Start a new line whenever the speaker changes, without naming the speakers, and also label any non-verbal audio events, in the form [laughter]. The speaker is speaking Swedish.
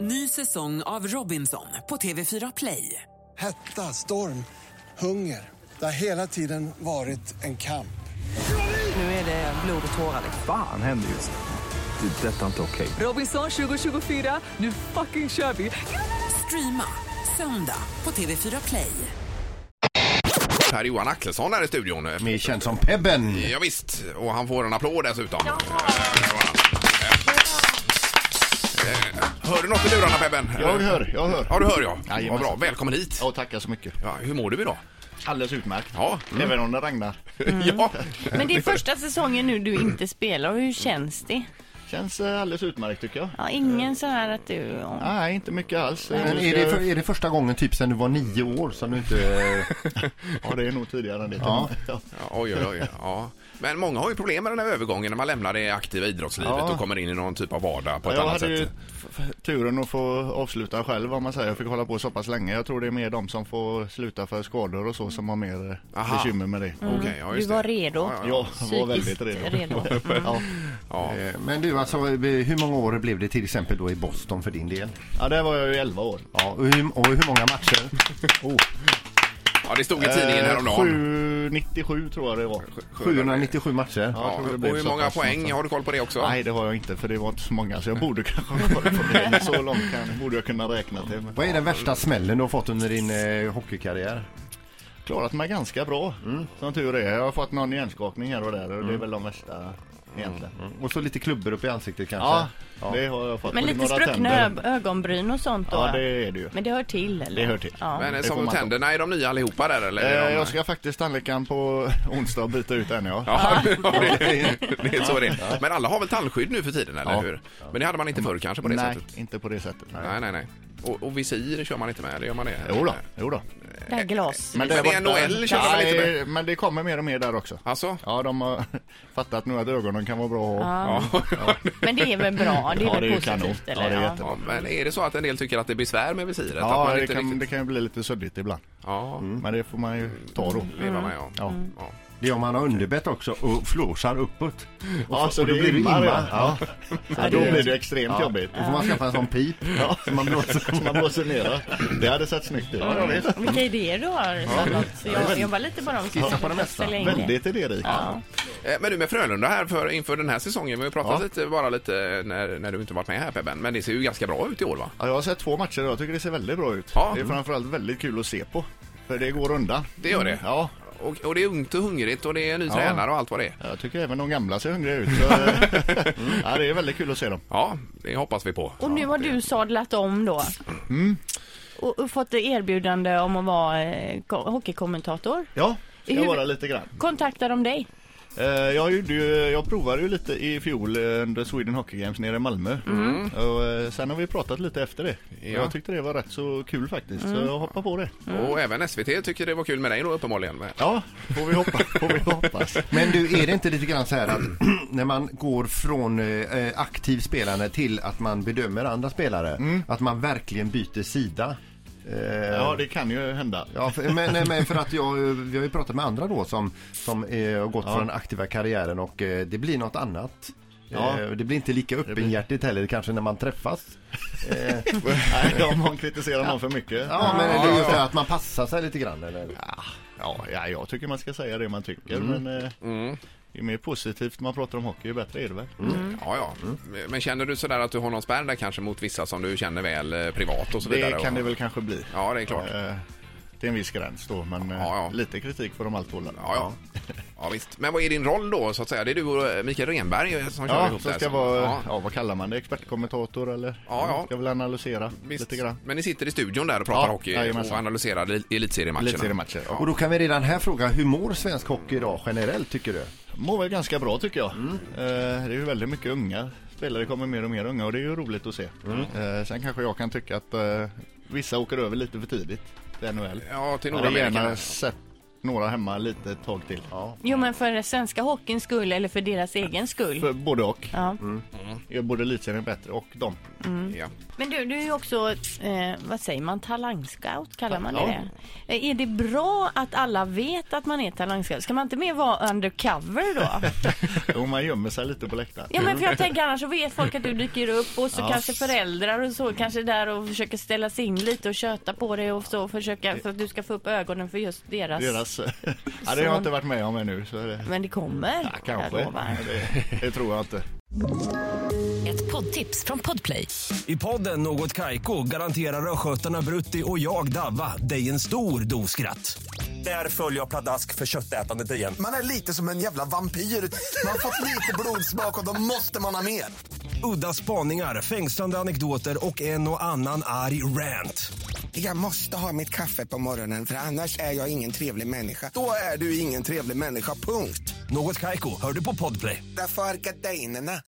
Ny säsong av Robinson på TV4 Play.
Hetta, storm, hunger. Det har hela tiden varit en kamp.
Nu är det blod och tårar. liksom.
Fan händer just nu. Det. är Detta är inte okej.
Robinson 2024, nu fucking kör vi! Streama söndag på TV4 Play.
Per-Johan Axelsson här i studion.
Mer känd som Pebben.
Ja, visst, och han får en applåd dessutom. Ja. Eh, Hör du något i lurarna Pebben?
Jag hör, jag hör.
Ja, du hör ja. Vad
Jajamensan.
bra, välkommen hit.
Ja, tackar så mycket.
Ja, hur mår du idag?
Alldeles utmärkt. Mm.
Ja.
Även om det regnar.
[laughs] Ja.
Men det är första säsongen nu du inte spelar. Hur känns det?
Känns eh, alldeles utmärkt tycker jag.
Ja,
Eh.
ingen så här att du... ja.
Nej, inte mycket alls.
Men är det, för, är det första gången typ sen du var nio år som du inte...
Ja, det är nog tidigare än det.
Ja.
Ja.
Oj, oj, oj. Ja. Men många har ju problem med den här övergången när man lämnar det aktiva idrottslivet
Ja.
och kommer in i någon typ av vardag på ett
Jag
annat
hade
sätt.
ju f- f- turen att få avsluta själv om man säger. Jag fick hålla på så pass länge. Jag tror det är mer de som får sluta för skador och så som har mer eh,
Aha. Mm.
bekymmer med det.
Okej, ja,
Du
just
var
det.
redo.
Ja,
Jag var väldigt
Psykiskt
redo. [laughs]
redo.
Mm. Ja.
Ja.
Eh, Men du, alltså, eh, hur många år blev det till exempel då i Boston för din del?
ja, där var jag ju 11 år.
Ja, och, hur, och hur många matcher?
ja, det stod i tidningen
Eh,
häromdagen.
797 tror jag det var.
797 matcher.
Ja.
Ja,
jag tror det
och
blev
hur
så
många
pass
poäng,
någonstans.
har du koll på det också?
Nej, det har jag inte för det var inte så många så jag borde [laughs] kanske ha koll på det. Men Så långt kan, borde jag kunna räkna till. Men
Vad är den värsta smällen du har fått under din eh, hockeykarriär?
klarat mig ganska bra
Mm.
som tur är. Jag har fått någon hjärnskakning här och där och det är väl de värsta egentligen.
Mm,
Och så lite klubbor upp i ansiktet kanske?
Ja, det har jag fått.
Men
Och
lite
några
spruckna
tänder.
ö- ögonbryn och sånt då?
Ja, det är det ju.
Men det hör till eller?
Det hör till.
Ja.
Men eh,
det får
som
man ta.
tänderna, är de nya allihopa där eller? är
Eh,
de...
Jag ska faktiskt tandläkaren på [laughs] onsdag och byta ut en ja.
Ja, [laughs] det, det är så det är. Men alla har väl tandskydd nu för tiden, eller
Ja.
hur? Men det hade man inte förr kanske på det
nej,
sättet?
inte på det sättet. Nej.
Nej, nej, nej. Och, och visir kör man inte med, eller gör man det?
Jo då, jo då.
Det här glas.
Men det är NHL kör man lite med.
Nej, men det kommer mer och mer där också.
Alltså?
Ja, de har [laughs] fattat nu att ögonen kan vara bra att ha.
Ja. Men det är väl bra? Det är
Ja,
väl
det är ju kanon.
positivt?
Ja,
Eller?
det är jättebra.
Ja, men är det så att en del tycker att det blir svär med visiret? att
Ja,
man
det
inte
kan, det
riktigt...
kan ju bli lite suddigt ibland.
Ja,
Men det får man ju ta då.
leva med, ja.
Ja.
ja.
Det är om man har underbett också och flåsar uppåt.
Ja, så
och då
det
blir det
immar,
imma.
ja. Ja, då blir det extremt [laughs] jobbigt.
Då får man skaffa en sån pip. som man blåser.
Man blåser ner. Det hade sett snyggt ut.
Vilka idéer du har Charlotte. Så Jag jobbar lite bara om
Skissa på det mesta.
Eller inget.
Väldigt idérik. Ja.
Eh, Men du med Frölunda här för, inför den här säsongen, vi har ju pratat
Ja.
lite, bara lite när, när du inte varit med här Pebben, men det ser ju ganska bra ut i år va?
jag har sett två matcher och jag tycker det ser väldigt bra ut.
Ja.
Det är framförallt väldigt kul att se på. För det går undan.
Det gör det.
Ja.
Och, och det är ungt och hungrigt och det är ny tränare och allt vad det är.
Jag tycker även de gamla ser hungriga ut. [laughs] Så... ja, det är väldigt kul att se dem.
Ja, det hoppas vi på.
Och nu har du sadlat om då?
Mm.
Och, och fått erbjudande om att vara eh, ko- hockeykommentator?
Ja, ska
Hur-
vara lite grann.
Kontaktar de dig?
Eh, Jag, gjorde ju, jag provade ju lite i fjol eh, under Sweden Hockey Games nere i Malmö. Och eh, sen har vi pratat lite efter det. Och Jag tyckte det var rätt så kul faktiskt, så jag hoppar på det.
Och även SVT tycker det var kul med dig då uppenbarligen. Men-
Ja, får vi, hoppa, får vi hoppas.
Men du, är det inte lite grann så här att [clears throat] när man går från eh, aktiv spelare till att man bedömer andra spelare, att man verkligen byter sida?
Mm.
Eh,
Ja, det kan ju hända.
Ja, för, men, nej, men för att jag, vi har ju pratat med andra då som, som eh, har gått från aktiva karriären och eh, det blir något annat.
Ja.
Eh, Det blir inte lika öppenhjärtigt heller kanske när man träffas.
[laughs] Nej, de man kritiserar någon för mycket.
Ja, men det är just det här att man passar sig lite grann eller?
Ja, ja, jag tycker man ska säga det man tycker, men eh, ju mer positivt man pratar om hockey, ju bättre är det väl?
Mm. Ja, ja.
Mm.
Men känner du sådär att du har någon spärr där kanske mot vissa som du känner väl eh, privat och så vidare?
Det kan det
Och-
väl kanske bli.
Ja, det är klart.
Eh, Till en viss gräns då, men eh,
Ja, ja.
lite kritik får de allt tåla.
Ja, ja. ja, visst. Men vad är din roll då så att säga? Det är du och eh, Mikael Renberg som kör
Ja,
ihop
så
det här.
ska vara, ja.
Ja,
vad kallar man det, expertkommentator eller?
Ja, ja.
Ska väl analysera
visst.
lite grann.
Men ni sitter i studion där och pratar
Ja,
hockey
jajamensan.
och analyserar el- elitseriematcherna?
Elitseriematcher, ja.
Och då kan vi redan här fråga, hur mår svensk hockey idag generellt tycker du?
Mår väl ganska bra tycker jag.
Mm.
Eh, det är ju väldigt mycket unga spelare, kommer mer och mer unga och det är ju roligt att se.
Mm.
Eh, sen kanske jag kan tycka att eh, vissa åker över lite för tidigt till NHL.
Ja, till
Jag hade
Nordamerika.
gärna sett några hemma lite ett tag till. Ja.
Jo men för den svenska hockeyns skull eller för deras egen skull.
För Mm. både och.
Ja.
Gör både elitserien bättre och dem. Mm.
Ja.
Men du, du är ju också, eh, vad säger man, talangscout kallar man det? Eh, Är det bra att alla vet att man är talangscout? Ska man inte mer vara undercover då?
Och man gömmer sig lite på läktaren.
Ja men för jag tänker annars så vet folk att du dyker upp och så kanske föräldrar och så kanske där och försöker ställa sig in lite och köta på dig och så försöka för att du ska få upp ögonen för just deras.
Deras... [laughs] ja, det har jag inte varit med om ännu. Så det...
Men det kommer.
Ja, kanske.
Jag lovar.
Det, det tror jag inte.
Ett poddtips från Podplay.
I podden Något Kaiko garanterar östgötarna Brutti och jag, Davva, dig en stor dos skratt. Där följer jag pladask för köttätandet igen.
Man är lite som en jävla vampyr. Man har fått lite blodsmak och då måste man ha mer.
Udda spaningar, fängslande anekdoter och en och annan arg rant.
Jag måste ha mitt kaffe på morgonen för annars är jag ingen trevlig människa. Då är du ingen trevlig människa, punkt.
Något Kaiko, hör du på Podplay.
Därför arkadeinerna.